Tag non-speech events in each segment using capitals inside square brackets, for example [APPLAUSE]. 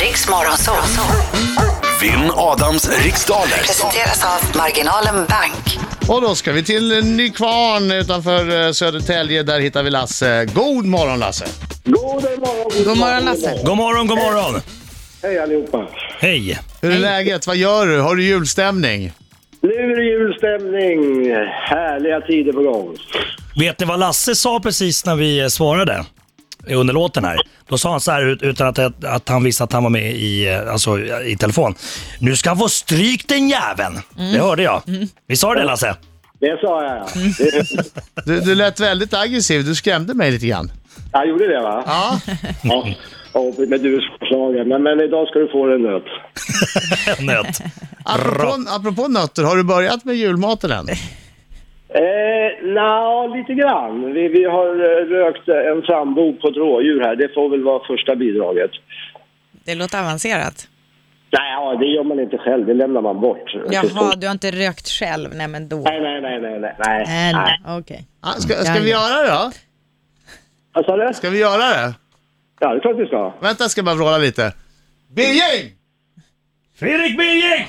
Riks Morgonzoo. Vinn Adams riksdaler. Presenteras av Marginalen Bank. Och då ska vi till Nykvarn utanför eh, Södertälje. Där hittar vi Lasse. God morgon Lasse! God morgon! God morgon Lasse. God morgon, god morgon. Hej allihopa! Hej. Hur är läget? Vad gör du? Har du julstämning? Nu är det julstämning. Härliga tider på gång. Vet ni vad Lasse sa precis när vi eh, svarade? eh, Under låten här. Då sa han så här ut- utan att, att, att han visste att han var med i, eh, alltså, i telefon. Nu ska han få stryk den jäveln. Mm. Det hörde jag. Vi sa det Lasse? Det sa jag. Det, [LAUGHS] Du, du lät väldigt aggressiv. Du skrämde mig lite grann. jag gjorde det va? Ja, Ja. Ja, men du är så slagen. Men, men idag ska du få en nöt. Nöt. apropå, apropå nötter, har du börjat med julmaten än? Eh, Nja, lite grann. Vi, vi har eh, rökt en sambo på ett rådjur här. Det får väl vara första bidraget. Det låter avancerat. Nej, ja, det gör man inte själv. Det lämnar man bort. Jaha, du har inte rökt själv? Nej men då. Nej, nej, nej, nej, nej, nej. nej. Nej, nej, Okej. Ja, Ska, ska vi göra det då? Vad sa du? Ska vi göra det? Ja, det är klart vi ska. Vänta, jag ska bara vråla lite. Birging! Fredrik Birging!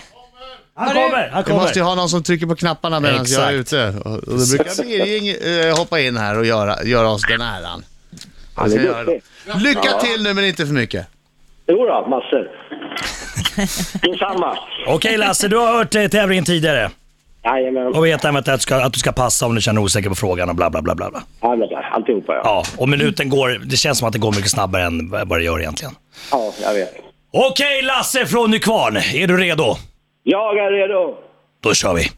Han Har du- kommer, han Vi måste ju kommer. ha någon som trycker på knapparna medan jag är Exakt. ute. Och och då brukar Birging eh, hoppa in här och göra, göra oss den äran. Han Ska är göra det. duktig. Lycka till nu, men inte för mycket. Jo då, [LAUGHS] massor. Detsamma. Okej Lasse, du har hört eh, tävlingen tidigare. Jajamän. Och vet även att, du ska- att du ska passa om du känner dig osäker på frågan och bla bla bla bla. bla. Ja, men där, Alltihopa, ja. Ja, och minuten går, det känns som att det går mycket snabbare än vad det gör egentligen. Ja, jag vet. Okej Lasse från Nykvarn, är du redo? Jag är redo. Då kör vi.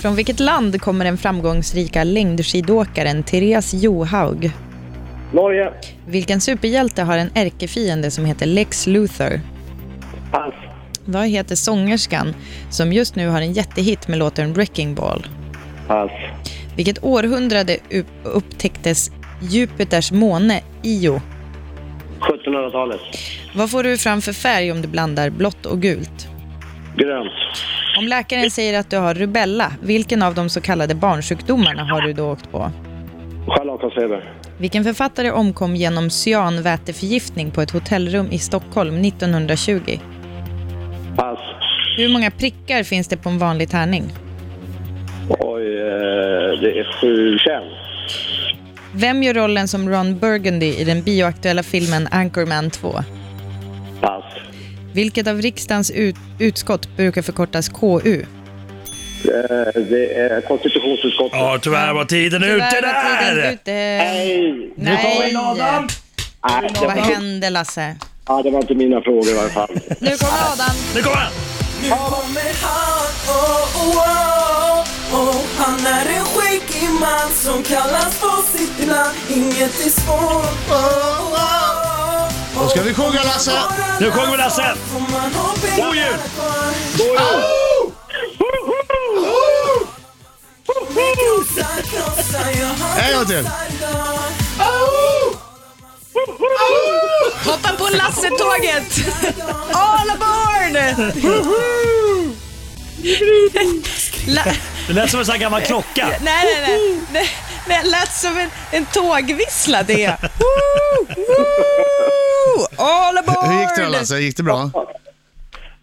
Från vilket land kommer den framgångsrika längdskidåkaren Therese Johaug? Norge. Vilken superhjälte har en ärkefiende som heter Lex Luthor? Pass. Vad heter sångerskan som just nu har en jättehit med låten Wrecking Ball? Pass. Vilket århundrade upp- upptäcktes Jupiters måne Io? 1700-talet. Vad får du fram för färg om du blandar blått och gult? Grönt. Om läkaren säger att du har rubella, vilken av de så kallade barnsjukdomarna har du då åkt på? Scharlakansfeber. Vilken författare omkom genom cyanväteförgiftning på ett hotellrum i Stockholm 1920? Pass. Hur många prickar finns det på en vanlig tärning? Oj, eh, det är sju känn. Vem gör rollen som Ron Burgundy i den bioaktuella filmen Anchorman 2? Pass. Vilket av riksdagens ut- utskott brukar förkortas KU? Eh, det är konstitutionsutskottet. Ja, tyvärr var tiden ute var tiden där! ute. Nej! Nu kommer Nej. en Adam! Nej, det Vad var, hände Lasse? ja, det var inte mina frågor i alla fall. [LAUGHS] Nu kommer Adam. Nu kommer han! Nu kommer han, oh, oh, oh, oh. Han är en skäggig man som kallas på sitt namn Inget är svårt, oh, oh, oh, oh. Då ska vi sjunga, Lasse. Nu sjunger vi, Lasse. Får man ha pengarna God jul. kvar? Krossar, krossar, ja, han En gång till. krossar dem. Hoppa på Lasse-tåget! All aboard! La- Det lät som en sån här gammal klocka. nej, nej, nej. Det, det lät som en, en tågvissla det. [LAUGHS] Woo! Woo! All aboard! Hur gick det då Lasse? Gick det bra?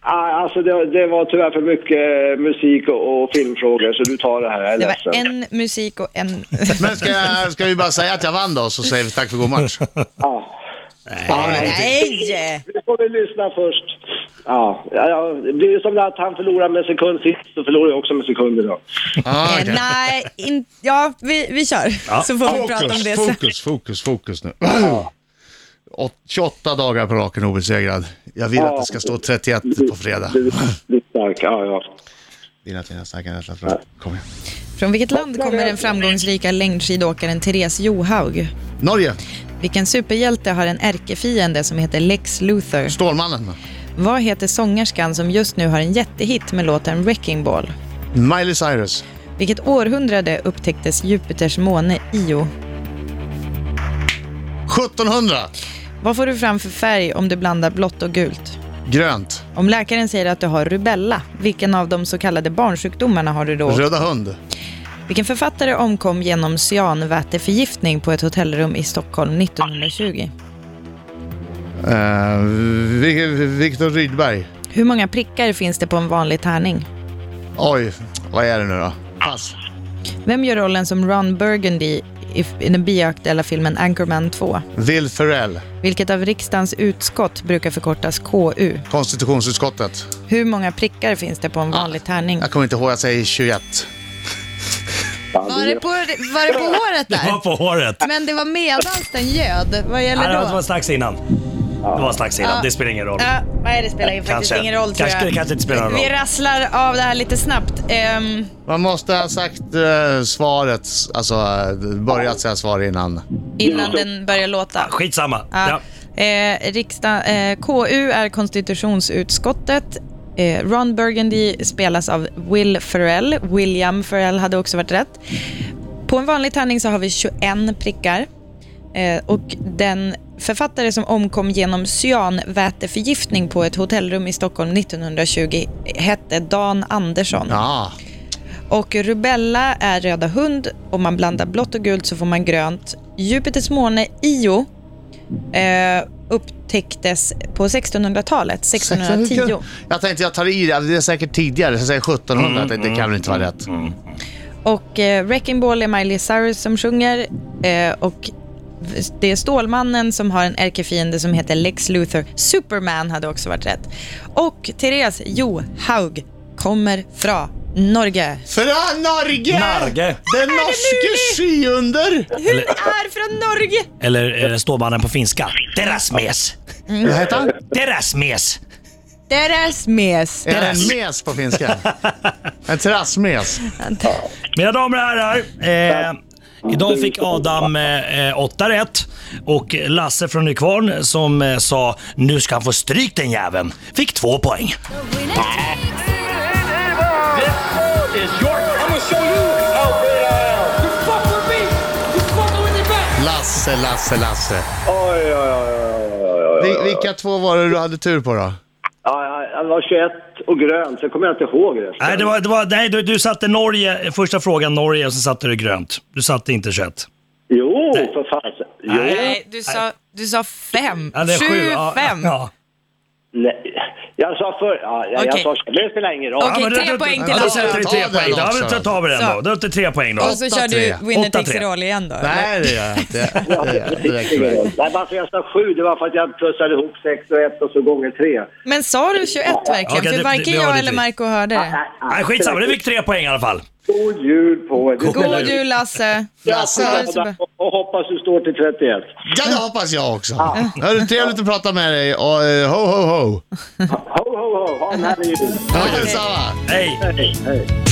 Ah, alltså det, det var tyvärr för mycket eh, musik och, och filmfrågor, så du tar det här. Jag är Det ledsen. var en musik och en... [LAUGHS] Men ska, jag, ska vi bara säga att jag vann då, så säger vi tack för god [LAUGHS] match? Ja. Nej! Nu får vi lyssna först. Ja, ja, ja, det blir ju som det att han förlorar med sekund sist, så förlorar jag också med sekund idag. Ah, Eh, okej. Nej, in, ja, vi, vi kör. Så får vi prata om det sen. fokus, fokus, fokus nu. Åt- 28 dagar på raken obesegrad. Jag vill att det ska stå 31 på [LAUGHS] fredag. Du, du är stark, ja, ja. Dina dina starka rädsla för Kom igen. Från vilket land kommer den framgångsrika längdskidåkaren Therese Johaug? Norge, Vilken superhjälte har en ärkefiende som heter Lex Luthor? Stålmannen. Vad heter sångerskan som just nu har en jättehit med låten Wrecking Ball? Miley Cyrus. Vilket århundrade upptäcktes Jupiters måne Io? 1700. Vad får du fram för färg om du blandar blått och gult? Grönt. Om läkaren säger att du har rubella, vilken av de så kallade barnsjukdomarna har du då? Röda hund. Vilken författare omkom genom cyanväteförgiftning på ett hotellrum i Stockholm 1920? Eh, Vi- Viktor Rydberg. Hur många prickar finns det på en vanlig tärning? Oj, vad är det nu då? Pass. Vem gör rollen som Ron Burgundy i, i den bioaktuella filmen Anchorman 2? Will Ferrell, Vilket av riksdagens utskott brukar förkortas KU? konstitutionsutskottet. Hur många prickar finns det på en vanlig tärning? Jag kommer inte ihåg, jag säger 21. Var det på, var det på håret Det var där? på håret. Men det var medans den göd. Vad Nej, gäller det var- det var då? strax innan. Det var strax innan. Det spelar ingen roll. Ja, nej, det spelar ju Kanske. faktiskt ingen roll tror Kanske- jag. det kanske inte spelar någon roll. Vi rasslar av det här lite snabbt. Ehm, Man måste ha sagt eh, svaret, alltså eh, börjat säga svar innan. innan den börjar låta. Skitsamma. Ja. Ja. Eh, riksdag, eh, KU är konstitutionsutskottet. Eh, Ron Burgundy spelas av Will Ferrell. William Ferrell hade också varit rätt. På en vanlig tärning så har vi 21 prickar. Eh, och den författare som omkom genom cyanväteförgiftning på ett hotellrum i Stockholm 1920 hette Dan Andersson. Ja, Och rubella är röda hund. Om man blandar blått och gult så får man grönt. Jupiters måne Io eh, upptäcktes på 1600-talet, 1610. Jag tänkte jag tar i det, det är säkert tidigare, så jag säger 1700, jag tänkte, det kan väl inte vara rätt. Och eh, Wrecking Ball är Miley Cyrus som sjunger. Eh, och det är Stålmannen som har en ärkefiende som heter Lex Luthor. Superman hade också varit rätt. Och Therese Jo Haug kommer från Norge. Fra Norge! Norge. Den norske skiunder! Hur är från Norge? Eller är det ståbanden på finska? Deras mes. Vad heter han? Deras mes. Deras mes. Är det en mes på finska? En terrassmes? Mina damer och herrar. Eh, idag fick Adam eh, eh, åtta rätt och Lasse från Nykvarn som eh, sa nu ska han få stryk den jäveln. Fick två poäng. Lasse, Lasse, Lasse. Oj, oj, oj, oj, oj, oj. Vil- vilka två var det du hade tur på då? Ja, han var 21 och grön, så kommer jag inte ihåg resten. Nej, det var, det var, nej du, du satte Norge, första frågan Norge och sen satte du grönt. Du satte inte kött. Jo, för fasen. Jo. Nej, du sa, du sa fem. Ja, det är sju, ja, fem. Ja. Nej. Jag sa för... Ja, jag, jag Okej. sa... Det spelar ingen roll. Okej, men då- tre då- poäng till Då Lasse. sätter vi tre Ta poäng. den Ja, men också. då tar vi den Så. då. Då är det tre poäng då. Och så kör du 8-3. Winner takes 8-3. it all igen då? Nej, det gör jag inte. Det, det räcker väl. Nej, varför jag sa sju, det var för att jag plussade ihop sex och ett och så gånger tre. Men sa du 21 verkligen? Okej, För det- varken det- vi har jag det eller till. Marco hörde det. Nej, skitsamma. Du fick tre poäng i alla fall. God jul på er! God jul Lasse! Ha det så bra. Och Alltså, hoppas du står till 31. Ja, det hoppas jag också. Hörru, trevligt att prata med dig och eh, ho, ho, ho. Ho, ho, ho! Ha en härlig jul! Ja, detsamma. Hej! Hej, hej!